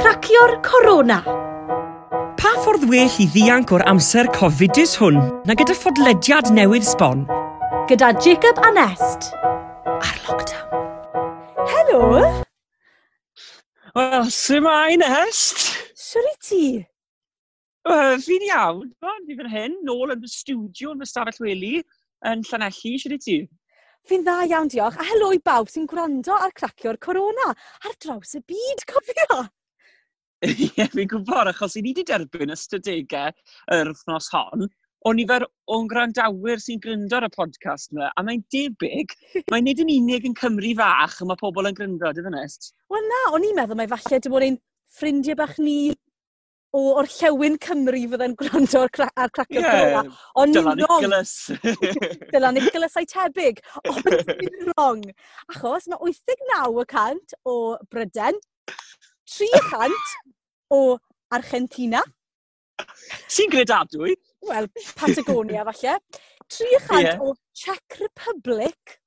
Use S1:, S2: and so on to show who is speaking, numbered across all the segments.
S1: deithio'r corona.
S2: Pa ffordd well i ddianc o'r amser Cofidus hwn na gyda fodlediad newydd sbon?
S1: Gyda Jacob a Nest. Ar lockdown. Helo.
S2: Wel, symau Nest!
S1: Siwr i ti?
S2: Wel, fi'n iawn. Wel, fi fan hyn, nôl yn y stiwdio yn fy stafell wely yn Llanelli, siwr i ti?
S1: Fi'n dda iawn diolch a helo i bawb sy'n gwrando ar cracio'r corona ar draws y byd, cofio.
S2: Ie, fi'n gwybod, achos i ni wedi derbyn ystadegau yr wythnos hon, o nifer o'n gwrandawyr sy'n gryndo ar y podcast yma, a mae'n debyg, mae'n nid yn unig yn Cymru fach, a mae pobl yn gryndo, dy fynest.
S1: Wel na, o'n i'n meddwl mae falle dim ond ein ffrindiau bach ni o orllewin Cymru fydde'n gwrando ar, cra ar cracio'r corona. Ond
S2: Dylan
S1: ni'n wrong.
S2: Nicholas.
S1: Dyla Nicholas a'i tebyg. Ond ni'n wrong. Achos mae 89% o Bryden, 300 o Argentina,
S2: Sy'n gredadwy.
S1: wel, Patagonia falle, 300
S2: Ie.
S1: o Czech Republic,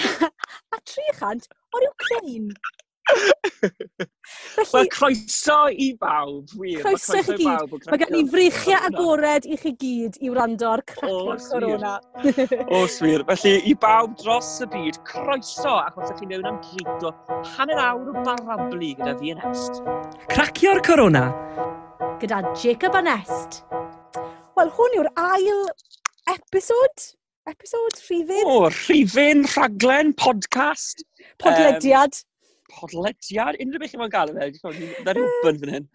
S1: a 300 o'r Ukraine.
S2: Wel,
S1: Felly,
S2: croeso i bawb, wir. ma'
S1: Croeso i chi
S2: i
S1: gyd.
S2: bawb o
S1: mae gen i
S2: Cracio'r
S1: frechiau
S2: Corona.
S1: agored i chi gyd i wrando ar
S2: O,
S1: cracio'r
S2: wir.
S1: corona.
S2: O, swir. Felly, i bawb dros y byd, croeso, achos ydych chi mewn am gyd o hanner awr o barablu gyda fi yn est. Cracio'r corona.
S1: gyda Jacob a Nest. Wel, hwn yw'r ail episod, episod rhifyn,
S2: O, rhifin, rhaglen, podcast,
S1: podlediad.
S2: podlediad, unrhyw beth chi'n gael fe. Dda rhyw byn fan hyn.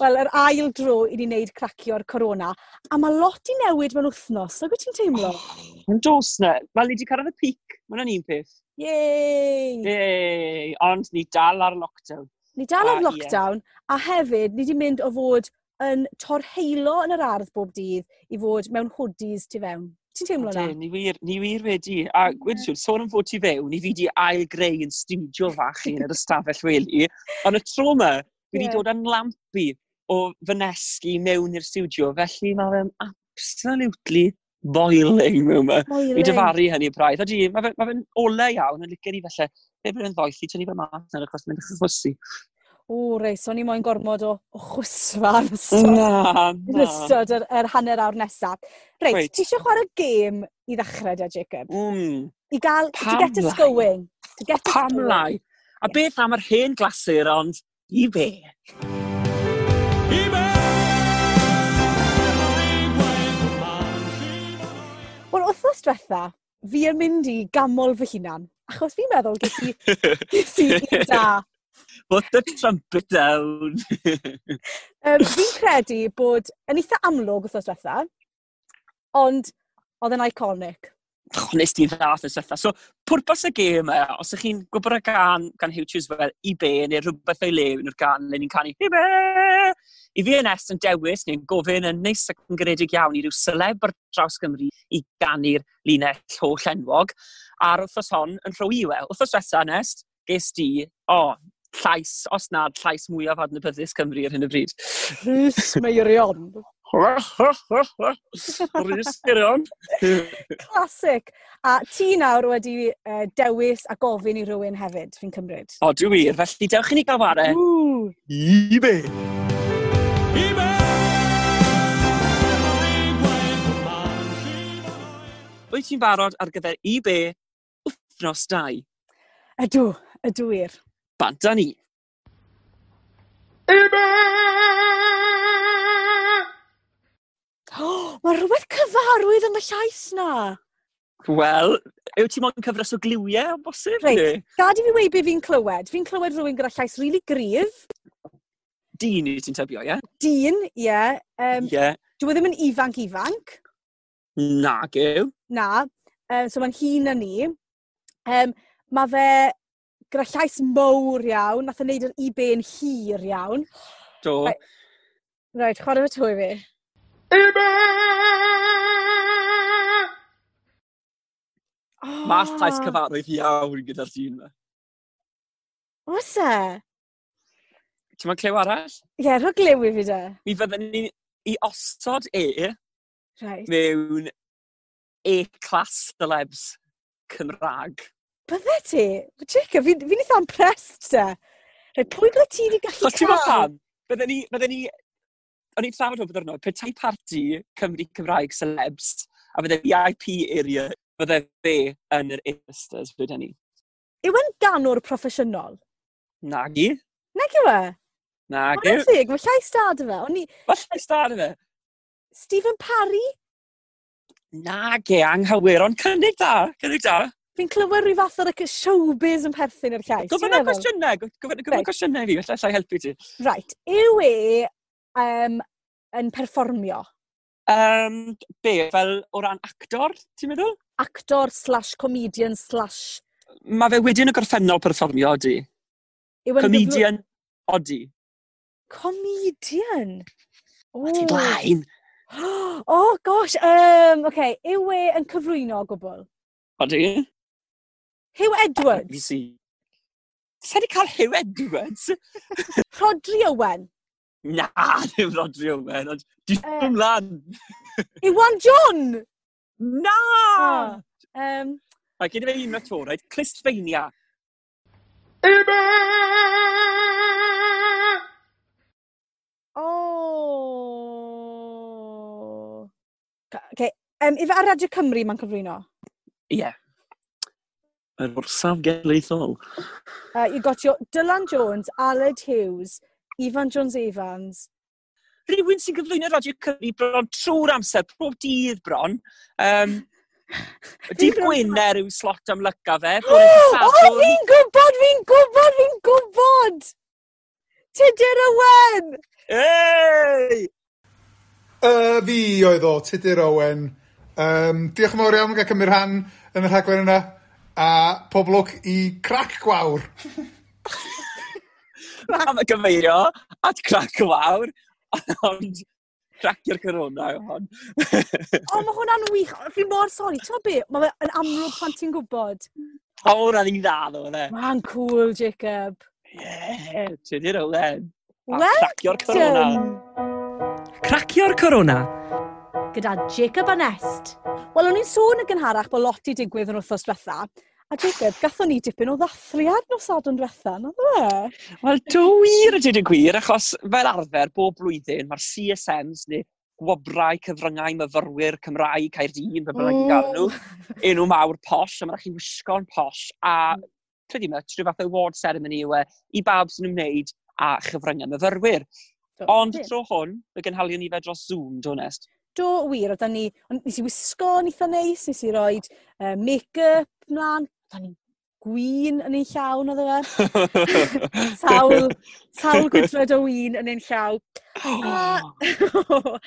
S1: Wel, yr ail dro i ni wneud cracio'r corona. A mae lot i newid mewn wythnos, so ti'n teimlo?
S2: Yn dos na. Mae ni wedi cyrraedd y pic. Mae hwnna'n un peth.
S1: Yey!
S2: Ei, ond ni dal ar lockdown.
S1: Ni dal
S2: a
S1: ar
S2: ie.
S1: lockdown, a hefyd ni wedi mynd o fod yn torheilo yn yr ardd bob dydd i fod mewn hoodies tu fewn. Ti'n teimlo na?
S2: Ydyn, Ni wir, ni wir wedi. A gwyd siwr, sôn am fod ti fewn, ni fi di ail greu yn studio fach i yn yr ystafell weli. Ond y tro yma,
S1: Ie.
S2: fi wedi dod yn lampu o fynesgu mewn i'r studio. Felly mae fe'n absolutely boiling mewn yma. Fi
S1: Moeling.
S2: dyfaru hynny braidd. Ydy, mae fe'n ma fe ole iawn yn licen i felly. Fe bydd yn ddoeth i tynnu fe mas na'r achos mynd i'ch chwysu.
S1: O, reis, o'n i moyn gormod o, o chwsfa ar ystod.
S2: Mm-hmm. Na,
S1: yn
S2: na.
S1: ystod yr, yr hanner awr nesaf. Reit,
S2: Reit.
S1: ti eisiau chwarae gêm i ddechrau da, Jacob?
S2: Mm,
S1: I gael, to
S2: Pam
S1: get us
S2: lai?
S1: going. To get us
S2: pam
S1: going.
S2: lai. A beth am yr hen glasur ond i be?
S1: Wel, wythnos diwetha, fi yn mynd i gamol fy hunan. Achos fi'n meddwl ges i, ges i un da.
S2: Put the trumpet down.
S1: Um, fi'n credu bod yn eitha amlwg wythnos diwetha, ond oedd yn iconic.
S2: Och, nes di ddath y setha. So, pwrpas y gêm e, os ych chi'n gwybod y gan gan Hughes fel i be, neu rhywbeth o'i lew yn o'r gan le ni'n canu i be, i fi yn est yn dewis neu'n gofyn yn neis ac yn gredig iawn i ryw seleb ar draws Gymru i ganu'r linell holl enwog. A'r wrthos hon yn rhoi i we. Wrthos wesa, Nest, ges di, o, llais, os nad llais mwyaf adnabyddus Cymru ar hyn o bryd.
S1: Rhys Meirion.
S2: Rhys Gerion.
S1: Classic. A ti nawr wedi uh, dewis a gofyn i rywun hefyd, fi'n cymryd.
S2: O, dwi wir. Felly, dewch i ni gael warau.
S1: Ww.
S2: eBay. Wyt ti'n barod ar gyfer eBay wythnos 2?
S1: Ydw, ydw wir.
S2: Bant a ni.
S1: Oh, mae rhywbeth cyfarwydd yn y llais na.
S2: Wel, yw ti'n moyn cyfres o gliwiau o bosib?
S1: Reit.
S2: neu?
S1: Gad i fi wei be fi'n clywed. Fi'n clywed rhywun gyda llais rili really gryf.
S2: Dyn i ti'n tybio, ie?
S1: Dyn, ie. Yeah. Um,
S2: Ie.
S1: Dwi ddim yn ifanc ifanc.
S2: Na, gyw.
S1: Na. Um, so mae'n hun na ni. Um, mae fe gyda llais mowr iawn. Nath o'n neud yr i be'n hir iawn.
S2: Do.
S1: Right. Rhaid, chwarae fe twy fi. Oh,
S2: Mae llais cyfarwydd iawn gyda'r dyn yma.
S1: Oes e?
S2: Ti'n moyn clew arall?
S1: Ie, yeah, rhoi glyw i fi de.
S2: Mi fydden ni i osod e
S1: Rhaid.
S2: mewn e-class celebs Cymraeg.
S1: Bydde ti? Jacob, fi'n fi eitha impressed te. Rhaid, pwy ble ti wedi gallu
S2: Os ti'n bod pam, bydden ni, bydden ni, o'n i'n trafod o byddwn nhw, pe tai parti Cymru Cymraeg celebs, a bydde VIP area, bydde fe yn yr A-listers, bydden ni.
S1: Yw e'n ganwr proffesiynol?
S2: Nagi,
S1: Nag yw e?
S2: nagi.
S1: Honestly, mae llais da dy fe. O'n i,
S2: Falle star fe.
S1: Stephen Parry,
S2: Nagi, anghywir, ond cynnig da, cynnig da.
S1: fi'n clywed rhyw fath o'r like, showbiz yn perthyn i'r llais.
S2: Gofyn y
S1: ti'n meddwl?
S2: cwestiynau, gof- gofyn gofyn y
S1: Reit.
S2: cwestiynau fi, allai helpu ti.
S1: Right, yw e um, yn perfformio?
S2: Um, be, fel o ran actor, ti'n meddwl?
S1: Actor slash comedian slash...
S2: Mae fe wedyn y gorffennol perfformio, odi.
S1: yw e'n gyflw-
S2: Comedian, odi.
S1: Comedian? O,
S2: Ti blaen.
S1: O, oh, gosh, um, okay, yw e yn cyflwyno o gwbl?
S2: Odi.
S1: Hugh Edwards,
S2: BBC. Sa'n i cael Hugh Edwards?
S1: Rodri Owen,
S2: Na, ddim Rodri Owen, ond di
S1: Yy.
S2: ddim lan.
S1: Iwan John!
S2: Na! Oh.
S1: Ah. Um,
S2: Mae gen i fe un o to, rhaid, Clistfeinia.
S1: o... Okay, um, ife ar Radio Cymru mae'n cyflwyno?
S2: Ie. Yeah. Yr orsaf genedlaethol.
S1: Uh, you got your Dylan Jones, Aled Hughes, Ivan Jones Evans.
S2: Rhywun sy'n gyflwyno Radio Cymru bron trwy'r amser, pob dydd bron. Um, dydd Gwener yw slot am lyca fe.
S1: O,
S2: bore dydd
S1: o,
S2: Sadwrn.
S1: fi'n gwybod, fi'n gwybod, fi'n gwybod! Tudur Owen!
S2: Ei!
S3: Yy, fi oedd o, Tudur Owen. Um, diolch yn fawr iawn am gael cymryd rhan yn y rhaglen yna. A poblwc i crac gwawr.
S2: Am y gyfeirio, at crac y wawr, ond cracio'r corona yw hon.
S1: O, mae hwnna'n wych. Fi mor sori. Ti'n gwybod be? Mae fe yn amlwg pan ti'n gwybod.
S2: O, hwnna ni'n dda ddo, fe.
S1: Mae'n cool, Jacob.
S2: Ie, Tudur Owen. A
S1: Wel
S2: Cracio'r corona.
S1: done.
S2: Cracio'r corona.
S1: Gyda Jacob a Nest. Wel, o'n i'n sôn yn gynharach bod lot i digwydd yn wythnos diwetha. A Jacob, gathon ni dipyn o ddathriad nos adwn diwetha, na dde?
S2: Wel, do wir y dyd y gwir, achos fel arfer bob blwyddyn mae'r CSMs neu gwobrau cyfryngau myfyrwyr Cymraeg, Caerdyn, fe bynnag i'n gael nhw,
S1: Mm.
S2: enw mawr posh, a mae'n rhaid i wisgo'n posh, a pretty much, rhyw fath o award ceremony yw e, i bawb sy'n ymwneud a chyfryngau myfyrwyr. Ond
S1: Do,
S2: tro hwn, fe gynhalio ni fe dros Zoom, do nest.
S1: do wir, oedden ni, ond nes i wisgo yn eitha neis, nes i roi uh, make-up mlaen, oedden ni gwyn yn ein llawn, oedd e? Sawl, sawl gwydred o wyn yn ein llaw. A- a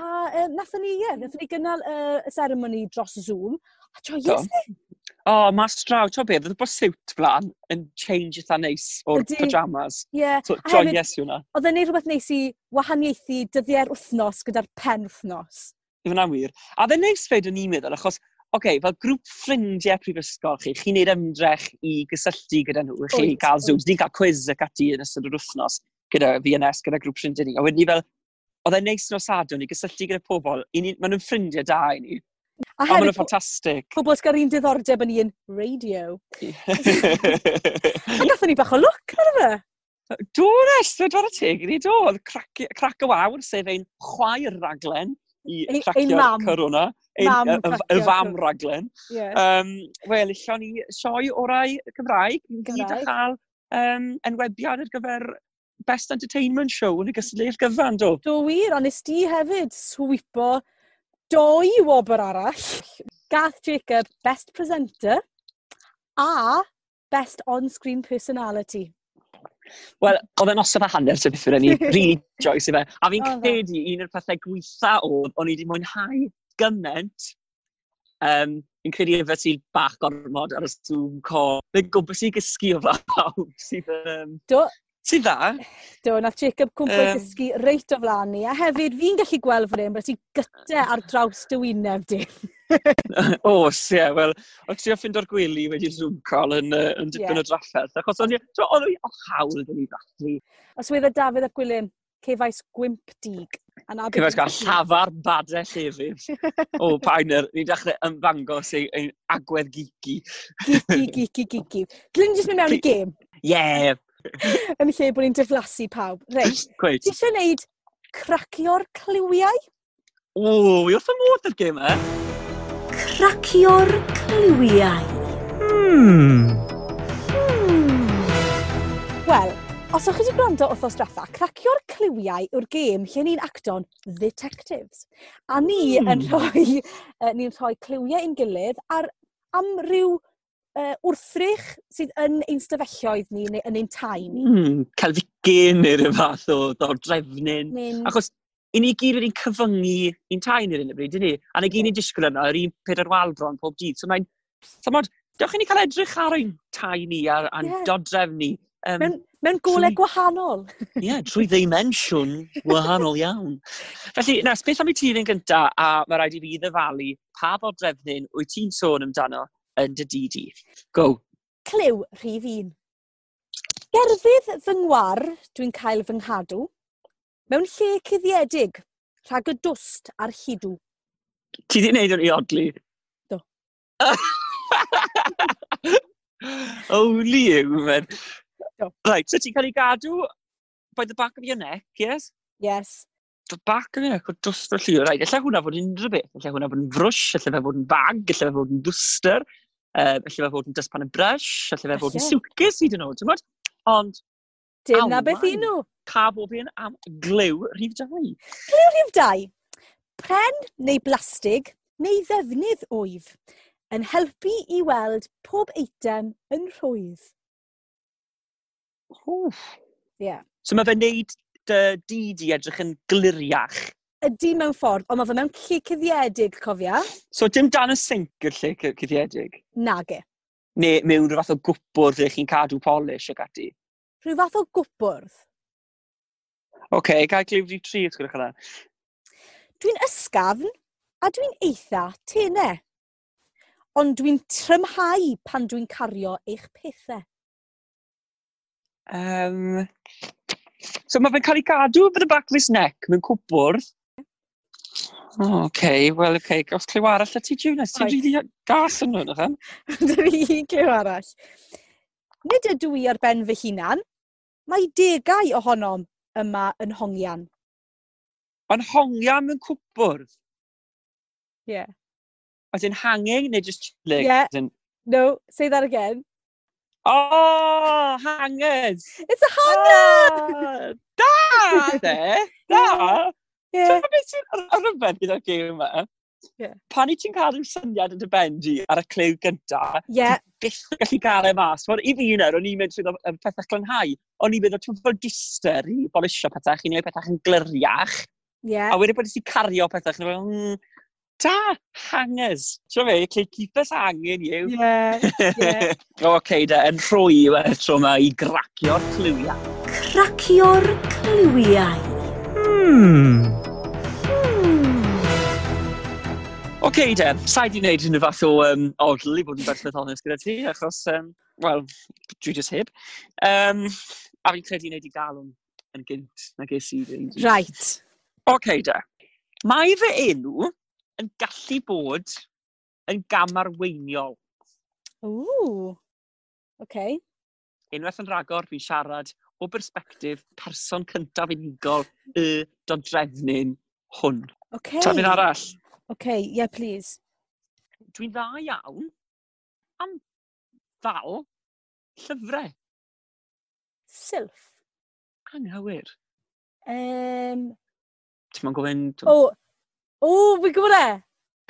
S1: uh, nathon ni, ie, nathon ni gynnal yy, y seremoni dros Zoom. A joyous e,
S2: O, oh, mas draw, to beth, oedd bod siwt blan yn change eitha neis o'r
S1: Ydi.
S2: pyjamas.
S1: ie.
S2: So,
S1: A
S2: John,
S1: hefyd-
S2: yes, yw hwnna.
S1: Oedd e'n neud rhywbeth neis i wahaniaethu dyddiau'r wythnos gyda'r pen wythnos.
S2: Yw hwnna'n wir. A dde neis fed o'n i'n meddwl, achos, oce, okay, fel grŵp ffrindiau prifysgol chi, chi'n neud ymdrech i gysylltu gyda nhw, chi
S1: Wyt,
S2: cael
S1: wyt.
S2: Zooms, ni'n cael quiz ac ati yn ystod yr wythnos gyda VNS, gyda grŵp ffrindiau ni. A wedyn ni fel, oedd e'n neis nos adwn i gysylltu gyda pobl, i ni- maen nhw'n ffrindiau da i ni.
S1: A
S2: A maen
S1: hefyd,
S2: nhw'n ffantastig.
S1: pobl sy'n gael un diddordeb yn un radio. A gatho ni bach o look ar fe.
S2: Do, nes, fe dod y teg i ni, do. Oedd craci- crac y wawr, sef ein chwaer raglen i
S1: Ei- ein mam.
S2: cracio'r corona. Ein-
S1: Mam
S2: y- y- Y
S1: cracio'r
S2: fam
S1: corona.
S2: raglen.
S1: Yeah.
S2: Um, Wel, illio ni sioi orau Cymraeg. Ni gyd a
S1: Cymraeg.
S2: chael um, enwebiad ar gyfer Best Entertainment Show yn y gysylltu'r gyfan, do.
S1: Do wir, ond nes di hefyd swipo doi wobr arall. Gath Jacob, best presenter a best on-screen personality.
S2: Wel, oedd e e'n osod a hanner sy'n bythyn ni. Really joyous i fe. A fi'n
S1: Oedd e.
S2: credu un o'r pethau gweitha oedd, o'n i wedi mwynhau gyment. Um, fi'n credu y fe sy'n bach gormod ar y Zoom call. Fe gwybod sy'n gysgu o fawr. Sydd um,
S1: Do.
S2: Sydd dda.
S1: Do, nath Jacob cwmpo um,
S2: Yym.
S1: dysgu reit o flaen ni. A hefyd, fi'n gallu gweld fan hyn, bod ti gyda ar draws dy wyneb di.
S2: Oes, ie. Yeah, Wel, o'n trio ffind o'r gwely wedi Zoom call yn, uh, yn dipyn
S1: Ie.
S2: o drafferth. Achos o'n i, t'mo', o'n i o hawl yn ei ddathlu.
S1: Os wedd y Dafydd ac Gwilym, cefais gwimp dig. A na beth yw'n
S2: Cyfais gael
S1: gallu.
S2: llafar badau llefydd. o, painer, ni'n dechrau ymddangos ei- ein agwedd geeky.
S1: Gigi, gigi, gigi. Dylwn ni jyst mynd mewn i gêm.
S2: Ie, yeah,
S1: yn lle bod ni'n diflasu pawb. Reit,
S2: Gweud.
S1: ti eisiau gwneud cracio'r cliwiau?
S2: O, i wrth fy modd ar gym e.
S1: Cracio'r cliwiau.
S2: Hmm.
S1: Hmm. Wel, os o'ch chi wedi gwrando wrth os draffa, cracio'r cliwiau yw'r gêm lle ni'n acto'n detectives. A ni
S2: Hmm.
S1: yn rhoi, uh, ni'n rhoi cliwiau i'n gilydd ar, am ryw uh, wrthrych sydd yn ein stafelloedd ni neu yn ein tai ni.
S2: Hmm. Celficin neu rhyw fath o ddor drefnyn.
S1: Neu'n
S2: Achos, i ni gyd wedi'n cyfyngu un tain i'r un y bryd, ni? A na gyd ni'n disgwyl yna, yr un peder wal bron pob dydd. So mae'n, thymod, dewch i ni cael edrych ar ein tai ni a'r yeah.
S1: Ie.
S2: dodrefn ni. Um,
S1: mewn, mewn golau
S2: trwy-
S1: gwahanol.
S2: Ie, yeah, trwy ddimensiwn wahanol iawn. Felly, nes, beth am i ti yn gyntaf, a mae rhaid i fi ddefalu pa bod drefnyn wyt ti'n sôn amdano yn dy di di. Go.
S1: Cliw rhif un. Gerfydd fy ngwar dwi'n cael fy nghadw, mewn lle cuddiedig, rhag y dwst ar hudw.
S2: Ti di wneud o'n i odli?
S1: Do.
S2: Only you, man.
S1: Do.
S2: Right, so ti'n cael ei gadw by the back of your neck, yes?
S1: Yes.
S2: The back of your neck, o dwst o lliw. Right, allai hwnna fod yn unrhyw beth. Allai hwnna fod yn frush, allai fe fod yn bag, allai fe fod yn dwster, uh, allai fe fod yn dustpan y brush, allai fe fod yn
S1: Allai.
S2: suitcase, hyd yn oed, ti'n bod? Ond,
S1: Dim na beth
S2: Awan.
S1: un nhw.
S2: pa bob un am glyw rhif dau.
S1: Rhif 2. Pren neu blastig neu ddefnydd oedd yn helpu i weld pob eitem yn rhwydd. Ie. Yeah.
S2: So mae fe wneud dy di di edrych yn gliriach.
S1: Ydy mewn ffordd, ond mae fe mewn lle cuddiedig, cofia?
S2: So dim dan y sinc yw'r lle cy- cuddiedig.
S1: Nage.
S2: Neu mewn rhyw fath o gwbwr lle chi'n cadw polish ac ati.
S1: Rhyw fath o gwbwrdd.
S2: Oce, gael glyw rhif tri os gwrach yna.
S1: Dwi'n ysgafn a dwi'n eitha tenau. Ond dwi'n trymhau pan dwi'n cario eich pethau.
S2: Um, so mae fe'n cael ei gadw bydd y back of his neck mewn cwbwrdd. O, Oce, okay, wel, oce. Okay. Os clyw arall, a ti Junas, ti'n
S1: Oes.
S2: rili gas yn hwn, ychan?
S1: Dyna fi un cliw arall. Nid ydw i ar ben fy hunan, mae degau ohonom yma yn hongian.
S2: Ond hongia mewn cwbwrdd.
S1: Ie.
S2: As in hanging neu just chilling?
S1: Ie.
S2: As in-
S1: No, say that again.
S2: Oh, hangers!
S1: It's a hongian!
S2: Oh, da, de! Da!
S1: Ie,
S2: Ti'n gwbod beth sy'n y- y rhyfedd gyda'r gêm yma?
S1: Ie.
S2: Pan i ti'n cael rhyw syniad yn dy ben di ar y clyw gyntaf,
S1: Ie,
S2: byth yn gallu gael e mas. Wel, I fi nawr, o'n i'n mynd trwy y pethau clynhau. O'n i'n mynd o ti'n fel dister i bolisio pethau, chi'n gwneud pethau yn gliriach.
S1: ie.
S2: A wedyn bod ti'n cario pethau, chi'n fel, mm, da, hangers. Ti'n fe, cle keep us hanging, you.
S1: Ie, ie.
S2: O, okay, da, yn rhoi yw e tro yma i gracio'r clywiau.
S1: Cracio'r cliwiau.
S2: Hmm. OK, de, sa'i di wneud hyn y fath o um, odl i bod yn berthyn onest gyda ti, achos, um, wel, dwi jyst heb. Um, a fi'n credu wneud i galon yn gynt na ges i ddweud.
S1: Right.
S2: OK, de. Mae fy enw yn gallu bod yn gamarweiniol.
S1: Ooh. Okay.
S2: Unwaith yn ragor, fi'n siarad o bersbectif person cyntaf unigol y dodrefnyn hwn.
S1: Okay.
S2: Hey. Tafyn arall.
S1: Okay, yeah, please.
S2: Dwi'n dda iawn am ddal llyfrau
S1: Silff.
S2: anghywir.
S1: Um,
S2: Ti'n ma'n gofyn
S1: oh,
S2: oh.
S1: oh, fi gwybod e.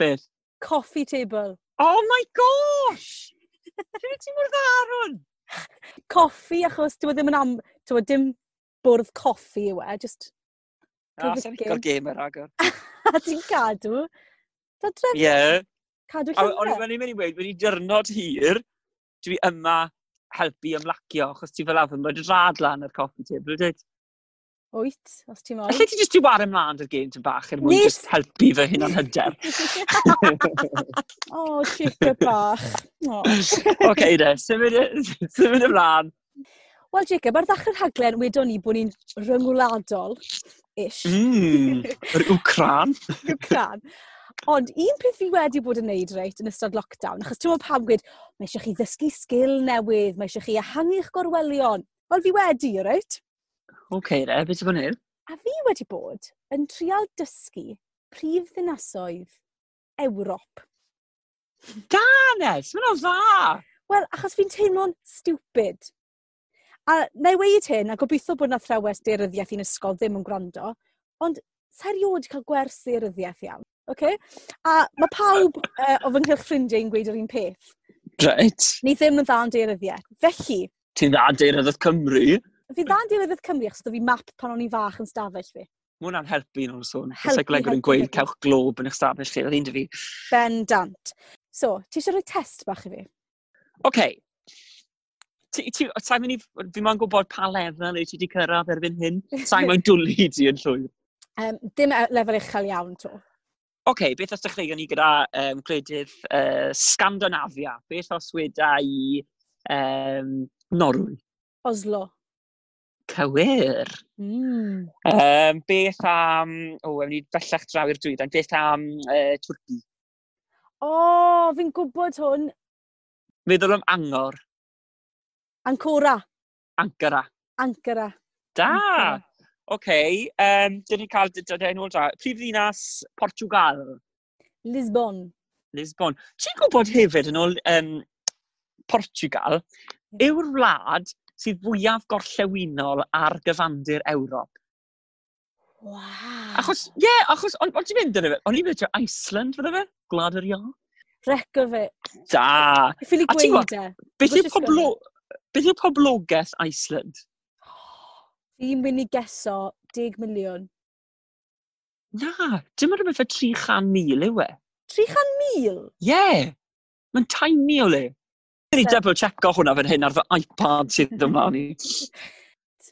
S2: beth?
S1: Coffee table.
S2: Oh my gosh! Dwi'n ti mor dda ar hwn?
S1: Coffi, achos dwi'n ddim yn am... Dwi'n dim bwrdd coffi yw e, just...
S2: A, sa'n
S1: Cyfrifgyn.
S2: licor Ah, gamer agor.
S1: A ti'n cadw. Da dref,
S2: Ie.
S1: cadw
S2: A O'n
S1: llyfrau.
S2: i'n mynd i weid, wedi dyrnod hir, dwi yma helpu ymlacio, achos ti fel afon, mae'n rad lan ar coffi table, dweud.
S1: Wyt, os ti'n moyn.
S2: Alla ti jyst i war ymlaen ar gêm ti'n bach, er mwyn
S1: Nes-
S2: jyst helpu fy hyn o'n hyder.
S1: O, chica bach. O.
S2: Oce, de, symud y- symud ymlaen.
S1: Wel, Jacob, ar ddechrau'r rhaglen, wedon ni bod ni'n ryngwladol, ish,
S2: Mmm, yr wcran.
S1: yw cran. Ond un peth fi wedi bod yn neud reit yn ystod lockdown, achos ti'n meddwl pam gwed, mae eisiau chi ddysgu sgil newydd, mae eisiau chi ehangu'ch gorwelion. Wel, fi wedi, reit?
S2: OK, re, beth yw'n hyn?
S1: A fi wedi bod yn trial dysgu prif ddinasoedd Ewrop.
S2: Danes, mae'n o dda!
S1: Wel, achos fi'n teimlo'n stupid. A na i weid hyn, a gobeithio bod na thrawes deiryddiaeth i'n ysgol ddim yn gwrando, ond seriod cael gwers deiryddiaeth iawn, Okay? A mae pawb uh, o fy nghylch ffrindiau yn gweud yr un peth.
S2: Reit,
S1: Ni ddim yn dda yn deiryddiaeth. Felly,
S2: ti'n dda deirydd Cymru.
S1: fi dda yn deiryddiaeth Cymru achos doedd fi map pan o'n i'n fach yn stafell fi.
S2: Mae hwnna'n helpu nhw'n sôn.
S1: Helpu,
S2: Seicolegwr yn
S1: helpu,
S2: gweud
S1: helpu.
S2: cewch glob yn eich stafell chi, oedd un dy fi.
S1: Ben dant. So, ti eisiau rhoi test bach i fi?
S2: OK. Ti- ti- Sa'n mynd i... Fi ma'n gwybod pa lefel wyt ti wedi cyrraedd erbyn hyn. Sa'n ma'n dwlu ti yn llwyr.
S1: Um, dim e- lefel uchel iawn to.
S2: OK, beth os dechreuon ni gyda um, gwledydd uh, Scandinavia? Beth os weda i um, Norwy?
S1: Oslo.
S2: Cywir.
S1: Mm.
S2: Um, beth am... O, ewn ni bellach draw i'r dwydan. Beth am uh, Twrci?
S1: O, fi'n gwybod hwn.
S2: Meddwl am Angor,
S1: Ancora.
S2: Ankara.
S1: Ankara.
S2: Da!
S1: Ankara.
S2: OK, um, dyn ni cael dydau yn ôl da. Prif ddinas Portugal,
S1: Lisbon.
S2: Lisbon. Ti'n gwybod hefyd yn ôl um, Portugal, yw'r wlad sydd fwyaf gorllewinol ar gyfandir Ewrop?
S1: Wow. Ah.
S2: Achos, ie, yeah, achos, o'n on ti'n mynd yn y fe? O'n i'n mynd i Iceland, fydde fe? Glad yr iawn.
S1: Reco fe.
S2: Da!
S1: Ffili
S2: A ti'n gwbod-
S1: gweud e.
S2: Beth
S1: Wnes
S2: yw
S1: i sgwennu.
S2: poblo... Beth yw poblogaeth Iceland?
S1: Fi'n mynd i geso 10 miliwn.
S2: Na, dim ond rhywbeth fe 300,000 yw e.
S1: 300,000?
S2: Ie! Yeah. Mae'n tiny o le. Dwi'n ni
S1: So-
S2: double check o hwnna fan hyn ar fy iPad sydd yma ni.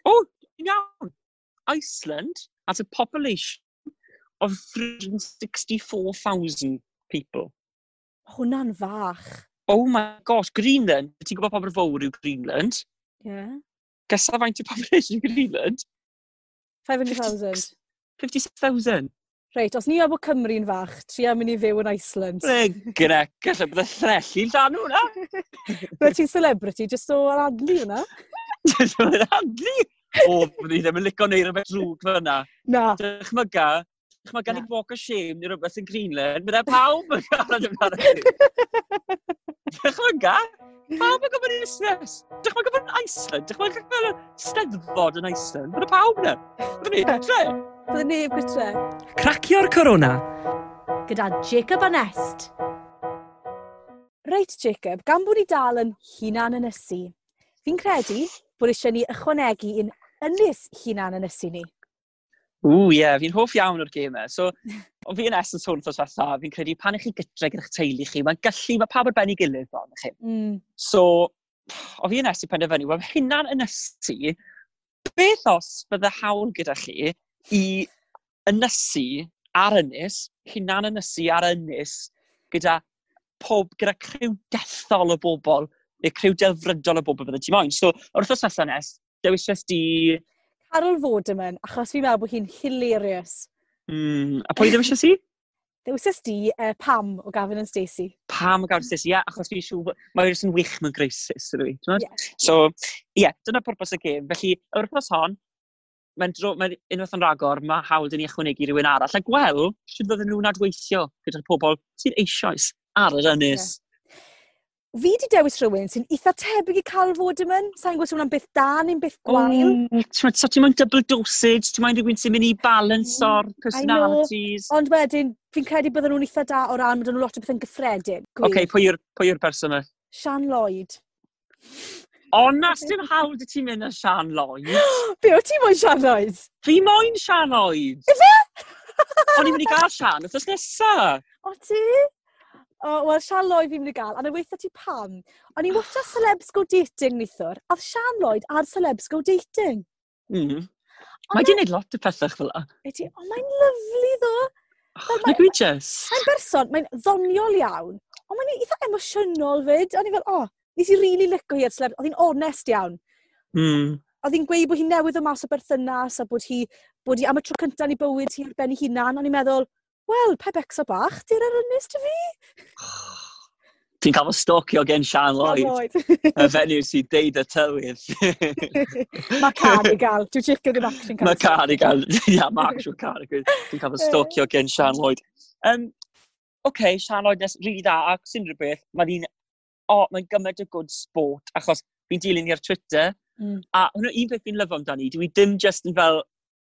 S2: O, oh, iawn. Iceland has a population of 364,000 people.
S1: Ma' Hwnna'n fach.
S2: Oh my gosh, Greenland. Ti'n gwybod pobl fawr yw Greenland?
S1: Ie. Yeah.
S2: Gysa faint yw population of Greenland?
S1: 500,000.
S2: 56,000.
S1: Reit, os ni a bod Cymru'n fach, tri am mynd i fyw yn Iceland.
S2: Gynna, gallai bod y threlli'n dan hwnna.
S1: Bydde ti'n celebrity, jyst o adlu hwnna?
S2: Mae'n handlu. O, bydde i ddim yn licio neud rhywbeth drwg fyna.
S1: Na.
S2: Dychmyga, dychmyga
S1: Na.
S2: ni'n walk o shame neu rhywbeth yn Greenland. Bydde pawb yn cael amdano chi. Dychmyga, pawb yn gofyn i'r Snes. Dychmyga bod yn Iceland. Dychmyga fel y steddfod yn Iceland. Bydde pawb yna. Bydde ni'n tre.
S1: Bydde neb gytre.
S2: Cracio'r corona.
S1: Gyda Jacob a Nest. Reit, Jacob, gan bod ni dal yn hunan yn ysu, fi'n credu bod eisiau ni ychwanegu un ynys hunan yn ysu ni.
S2: Ww, ie, yeah, fi'n hoff iawn o'r gymau. So, o fi yn esyn sôn wrthos fatha, fi'n credu pan ych chi gytre gyda'ch teulu chi, mae'n gallu, mae pawb ar ben ei gilydd fel chi.
S1: Mm.
S2: So, o fi yn esyn penderfynu, wel, hynna'n yn ysu, beth os bydde hawl gyda chi i ynysu ar ynys, hynna'n ynysu ar ynys, gyda pob, gyda criw dethol o bobl, neu criw delfrydol o bobl bydde ti moyn. So, o'r wrthos nesaf nes, dewisys di...
S1: Carol Vorderman, achos fi'n meddwl bod hi'n hilarious.
S2: Mm, a pwy dewisys i?
S1: Dewisys di uh, Pam o Gavin and Stacey.
S2: pam y gawr sys, ie, achos fi'n siŵr bod mae rhywun yn wych mewn greisus, ydw i.
S1: Ie.
S2: Yeah. So, ie, yeah, dyna pwrpas y gêm. Felly, yr wrthnos hon, mae'n dro, mae unwaith yn ragor, mae hawl dyn ni ychwanegu rhywun arall. A gweld, sydd fydden nhw'n adweithio gyda'r pobl sydd eisoes ar yr ynys.
S1: Fi di dewis rhywun sy'n eitha tebyg i Carol Vorderman. Sa'n gwybod swn am beth da neu'n beth gwael.
S2: Oh, ti'n so, ti moyn double dosage, ti'n moyn rhywun sy'n mynd i balance o'r personalities.
S1: Ond wedyn, fi'n credu bydden nhw'n eitha da o ran, bod nhw'n lot o bethau'n gyffredin. Gwir.
S2: OK, pwy yw'r pwy yw'r person yma?
S1: Sian Lloyd.
S2: O, na, dim hawl dy ti'n mynd â Sian Lloyd.
S1: Be o ti moyn Sian Lloyd?
S2: Fi moyn Sian Lloyd. O'n i'n mynd i gael Sian, wrthos nesaf.
S1: O ti? O, wel, Sian Lloyd fi'n mynd i gael, a na weithio ti pam. O'n i watcha Celebs Go Dating nithwr, a oedd Sian Lloyd ar Celebs Go Dating.
S2: Mm.
S1: O,
S2: Mae di wneud lot o pethau fel yna.
S1: E ti, o, mae'n lyflu ddo.
S2: Na gwi jes.
S1: Mae'n berson, mae'n ddoniol iawn, ond mae'n eitha emosiynol fyd. O'n i fel, o, nes i rili really licio hi ar Celebs, oedd hi'n onest iawn.
S2: Mm.
S1: Oedd hi'n gweud bod hi newydd o mas o berthynas a bod hi, bod hi am y tro cyntaf ni bywyd hi ar ben ei hunan, o'n i'n meddwl, wel, pe becso bach, di'r ar ynnes ti fi?
S2: Ti'n cael fy stocio gen Sian Lloyd, y fenyw sy'n deud y tywydd.
S1: Mae cardigal. Dwi'n chico ddim action
S2: Mae
S1: cardigal.
S2: cardigan, ia, mae actual cardigan. Dwi'n cael fy stocio gen Sian Lloyd. Um, Oce, okay, Sian Lloyd nes rhy dda, ac sy'n rhywbeth, mae hi'n... O, oh, mae'n gymaint o good sport, achos fi'n dilyn ni ar Twitter,
S1: Mm.
S2: a hwnna un peth fi'n lyfo amdani, dwi ddim just yn fel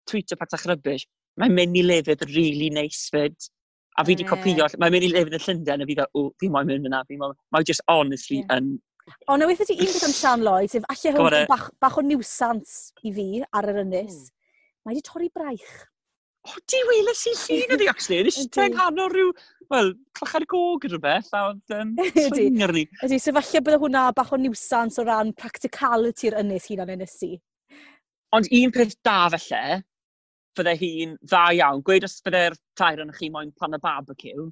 S2: Twitter patach rybys, mae'n mynd i lefydd really neis fyd. A fi wedi
S1: Ie.
S2: copio, mae'n mynd i lefydd yn Llundain, a fi fel, o, fi moyn mynd yna, fi moyn... Mae'n just honestly
S1: Ie.
S2: yn...
S1: O, na weithio ti un peth am Sian Lloyd, sef allai
S2: Go on,
S1: hwn
S2: eh.
S1: yn bach, bach o niwsans i fi ar yr ynys. Mae wedi torri braich.
S2: O, di weles i llun ydi, actually. Nes i
S1: Ydi.
S2: teg hanol rhyw, wel, clachad y gog yn rhywbeth, a oedd um,
S1: Ydi.
S2: swinger ni.
S1: Ydy, sef allai bydde hwnna bach o niwsans o ran practicality yr ynys hunan ynysu.
S2: Ond un peth da falle, bydde hi'n dda iawn. Gweud os bydde'r tair yn chi moyn pan y barbecue,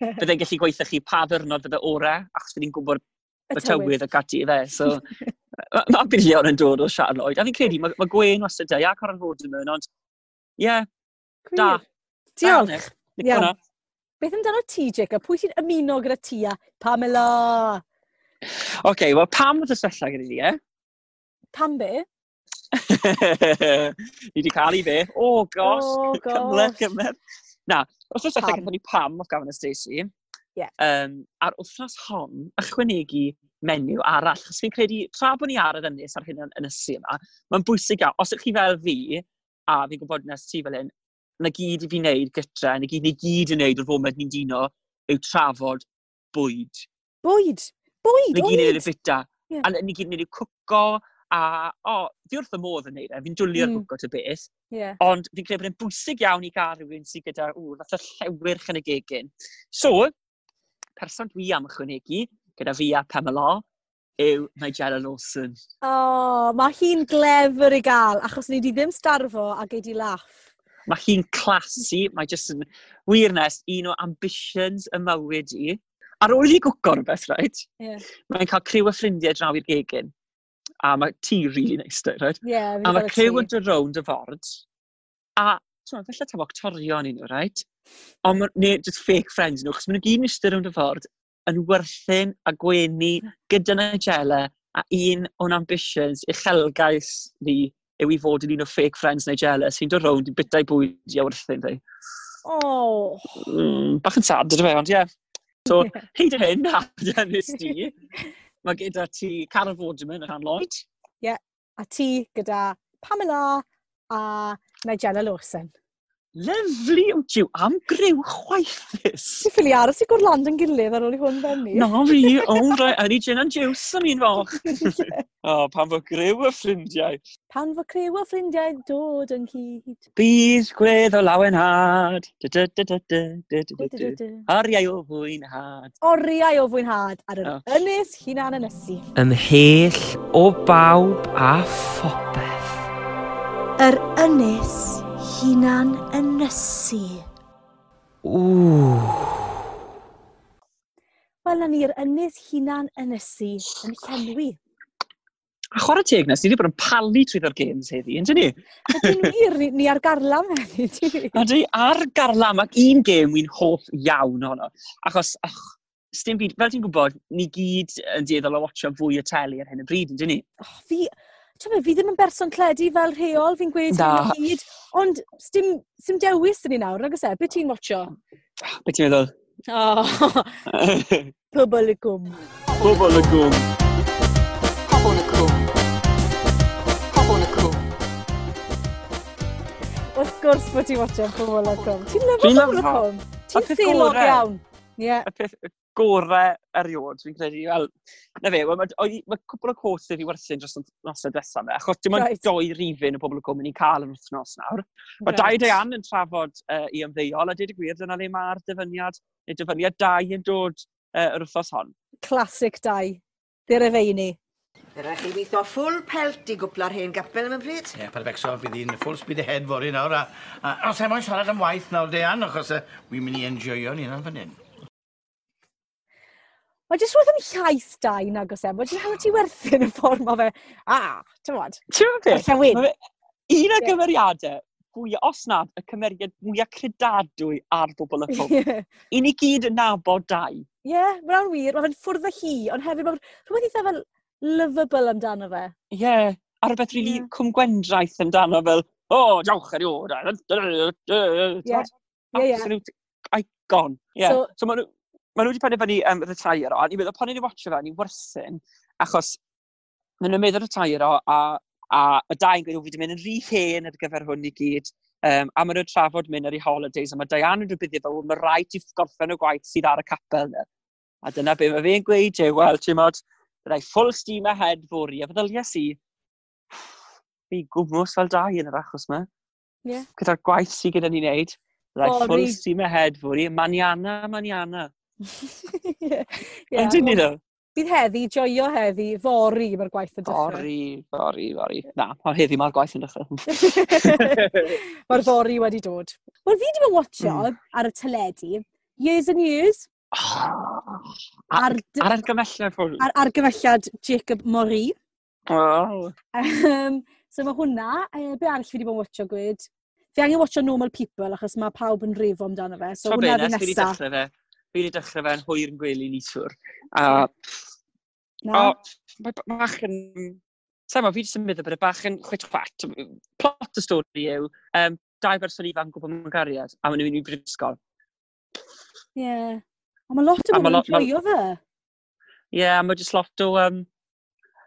S2: bydde'n gallu gweithio chi pa ddyrnod fydde ore, achos bydde'n gwybod y tywydd ac ati fe. So, mae ma bilion yn dod o Siarloid. A fi'n credu, mae ma Gwen wastad da, ia, Coran Rodemon, ond, ie, yeah, da.
S1: Cwyr. Diolch. Iawn.
S2: Iawn.
S1: Beth amdano ti, Jacob? Pwy sy'n ymuno gyda ti a Pamela?
S2: Oce, okay, wel, pam oedd y sefyllfa gyda ni, ie?
S1: Pam be?
S2: ni wedi cael i fe. O, gos,
S1: O, gosh.
S2: cymler, cymler. Na, os oes allai
S1: Pam.
S2: gyda ni pam off gafon y Stacey,
S1: Ie.
S2: um, ar wythnos hon, ychwanegu menyw arall. Chos fi'n credu, tra bod ni ar y ddynus ar hyn yn, yn y yma, mae'n bwysig iawn. Os ydych chi fel fi, a fi'n gwybod nes ti fel hyn, na gyd i fi wneud gytra, na gyd ni gyd yn wneud o'r foment ni'n dino, yw trafod bwyd.
S1: Bwyd! Bwyd!
S2: Ni gyd yn
S1: oed.
S2: wneud y bita.
S1: Ie.
S2: A ni gyd yn wneud y cwco, a o, fi wrth y modd yn wneud e, fi'n dwlio'r
S1: Mm.
S2: cwco ty beth,
S1: Ie.
S2: Ond fi'n credu bod e'n bwysig iawn i gael rhywun sydd gyda, ww, fath o llewyrch yn y gegin. So, person dwi am ychwanegu, gyda fi a Pamela, yw Nigella Lawson.
S1: O, mae hi'n glefyr i gael, achos ni wedi ddim starfo a gei di laff.
S2: Mae hi'n classy, mae jyst yn wir nes un o ambitions y mywyd i. Ar ôl i gwco rhywbeth, right?
S1: Ie.
S2: Mae'n cael criw o ffrindiau draw i'r gegin. A mae ti really nice, right?
S1: Ie, yeah,
S2: A mae criw yn dod rownd y ford. A, ti'n meddwl, falle tam octorion i nhw, right? Ond, ma- neu just fake friends nhw, chos maen nhw gyd yn eistedd rownd y ford yn werthyn a gwenu gyda Nigella a un o'n ambitions uchelgais ni yw i fod yn un o fake friends Nigella sy'n dod rownd i bitau bwyd i a werthyn ddi.
S1: O,
S2: Mm, bach yn sad, ydw fe, ond ie. Yeah. So, hyd yn hyn, a dynis di, mae gyda ti Carol Vorderman yn Lloyd.
S1: a ti gyda Pamela a Nigella Lawson.
S2: Lyfli yw diw am grew chwaethus.
S1: Ti'n ffili aros i gwrland yn gilydd ar ôl i hwn fenni?
S2: Na fi, o rai, a ni gin and juice am un foch. o, pan fo grew y ffrindiau.
S1: Pan fo criw o ffrindiau dod yn cyd.
S2: Bydd gwedd o lawen had. Du- du- du- du- du- du- du- du- du.
S1: Du-du-du-du.
S2: Ariau o fwyn had.
S1: Oriau o fwynhad ar yr
S2: O.
S1: ynys hunan yn ysu.
S4: ymhell o bawb a phopeth.
S1: Yr ynys hunan yn ysu.
S4: Ww,
S1: Wel, na ni'r ynys hunan yn ysu yn llenwi.
S2: A chwarae teg nes, ni wedi bod yn palu trwy ddor games heddi, yndyn ni?
S1: Ydy'n wir, ni, ni ar garlam hefyd. ti.
S2: A dwi ar garlam ac un gêm wy'n hoff iawn ono. Achos, ach, Stym byd, fel ti'n gwybod, ni gyd yn dieddol o watcho fwy o teli ar hyn y bryd, yndyn ni?
S1: O, fi, ti'n meddwl, fi ddim yn berson cledu fel rheol, fi'n gweud
S2: Na.
S1: hyn i gyd. Ond, sdim, sdim dewis yn ni nawr, nag oes e? Be ti'n watcho?
S2: Be ti'n
S1: O,
S2: meddwl?
S1: pobl y gwm.
S2: Pobl y gwm.
S5: Pobl y cwm. Pobl y cwm.
S1: Wrth gwrs bod ti'n watcho pobl y gwm. Ti'n
S2: Dwi'n
S1: lyfo pobl y
S2: lyfo.
S1: gwm?
S2: Y
S1: Ti'n
S2: peth
S1: seilog
S2: gorau.
S1: iawn. Ie,
S2: Y peth gorau eriod, fi'n credu, wel, na fe, wel, mae ma cwpl o cwrs fi werthu'n dros y nosau diwethaf yma, achos dim ond
S1: Reit.
S2: doi rifin o pobl y cwm yn ei cael yn wythnos nawr. Mae dau
S1: Reit.
S2: deian yn trafod uh, i ymddeol, a dweud y gwir, dyna le mae'r dyfyniad, neu dyfyniad dau yn dod uh, yr wythnos hon.
S1: classic dau. Dy'r efeini.
S6: Fyra chi weithio ffwl pelt i gwpla'r hen gapel mewn pryd.
S7: Ie, pa'r becso, bydd hi'n full speed ahead fory nawr, a, a os efo'n siarad am waith nawr, Dean, achos uh, wi'n mynd i enjoyo ni yna'n fan hyn.
S1: Mae jyst rhywbeth am llais dau nag oes e. Mae jyst rhaid ti werthu'n y ffordd mae fe. Ah, ti'n bod?
S2: Ti'n gwybod beth?
S1: Alla wyn.
S2: Ma' fe- Un o
S1: Ie.
S2: gymeriadau, fwy, os nad, y cymeriad mwyaf credadwy ar bobl y cwm.
S1: Ie,
S2: Un i gyd yn nabod dau.
S1: Ie, mae'n wir. Mae fe'n ffwrdd â hi, ond hefyd mae'n rhywbeth eitha fel lovable amdano fe.
S2: Ie, yeah, a rhywbeth rili
S1: Ie.
S2: yeah. cwmgwendraeth amdano fel, o, oh, diolch eriod. a-
S1: Ie, ie, ie.
S2: Absolute icon. Yeah. So,
S1: So-
S2: so maen nhw ma wedi penderfynu um, retire o, a ni'n meddwl, pan ni'n watcho fe, ni'n werthyn, achos maen nhw'n meddwl retire o, a, a y dau'n gweud, o, fi wedi mynd yn rhy hen ar gyfer hwn i gyd, um, a maen nhw'n trafod mynd ar ei holidays, a mae Diane yn rhywbeth fel, mae rhaid ti gorffen y gwaith sydd ar y capel yna. A dyna be mae fe'n gweud, yw, wel, ti'n modd, byddai full steam ahead fori, a feddyliau si, fi gwmws fel dau yn yr achos yma.
S1: Ie.
S2: Gyda'r gwaith sydd gyda ni wneud, byddai
S1: Fory.
S2: full steam ahead fori, maniana, maniana.
S1: Ie.
S2: Yeah, Ond dyn ni ddo?
S1: Bydd heddi, joio heddi, fori mae'r gwaith yn dechrau.
S2: Sori, sori, sori. Na, ond heddi mae'r gwaith yn dechrau.
S1: mae'r fori wedi dod. Wel, fi wedi bod yn watcho
S2: Hmm.
S1: ar y teledu, years and years,
S2: Ar
S1: ar, dy-
S2: ar argymellau ffwrdd.
S1: ar argymelliad Jacob Mori.
S2: Oh.
S1: Um, so mae hwnna, uh, be arall fi wedi bod yn watcho gwed? Fi angen watcho Normal People, achos mae pawb yn rifo amdano fe, so
S2: So be,
S1: hwnna
S2: nes
S1: fi
S2: fi wedi
S1: nesaf.
S2: dechrau fe. Fi wedi dechrau fe yn hwyr yn gwely nitwr. A, o,
S1: Na?
S2: mae b- bach yn... Sa'n ma, fi wedi symud o bod y bach yn chwet chwat. Plot y stori yw, um, dau berson ifanc gwybod mewn gariad, a maen nhw'n mynd i brifysgol.
S1: Ie. Ond mae lot o
S2: A ma'
S1: bobl yn
S2: lot- ma'-
S1: joio fe.
S2: Ie, yeah, mae jyst lot o... Um,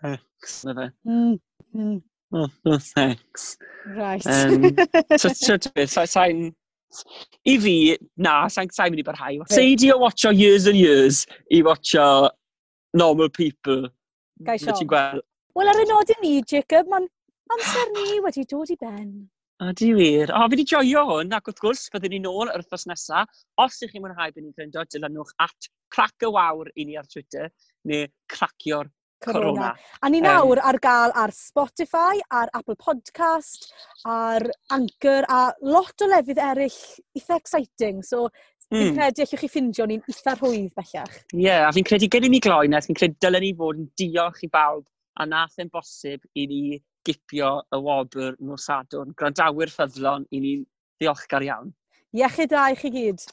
S2: thanks, mae fe.
S1: Mm, mm,
S2: Oh, oh, thanks.
S1: right.
S2: Um, so, so, so, so, sa'n... I fi, na, sa'n sa mynd i barhau. Seidio watcho years and years i watcho normal people.
S1: Gai
S2: Na
S1: siom.
S2: ti'n gweld.
S1: Wel, ar y nodyn ni, Jacob, mae'n amser ni wedi dod i ben.
S2: A di wir. O, fi di joio hwn, ac wrth gwrs, byddwn ni nôl yr wythnos nesaf. Os ych chi'n mwynhau bod ni'n gwrando, dilynwch at crac y wawr i ni ar Twitter, neu cracio'r corona.
S1: Corona. A ni nawr ar gael ar Spotify, ar Apple Podcast, ar Anchor, a lot o lefydd eraill eitha exciting. So, fi'n
S2: Mm.
S1: credu allwch chi ffindio ni'n eitha rhwydd bellach.
S2: Ie, yeah, a fi'n credu gen i ni gloi nes, fi'n credu dylen ni fod yn diolch i bawb a nath yn bosib i ni gipio y wobr nhw sadwn. Grandawyr ffyddlon i ni'n ddiolchgar iawn.
S1: Iechyd da i chi gyd.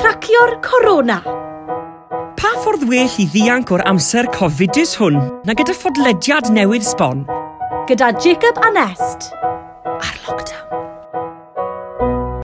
S8: Cracio'r corona.
S4: Pa ffordd well i ddianc o'r amser Cofidus hwn na gyda fodlediad newydd sbon?
S8: Gyda Jacob a Nest.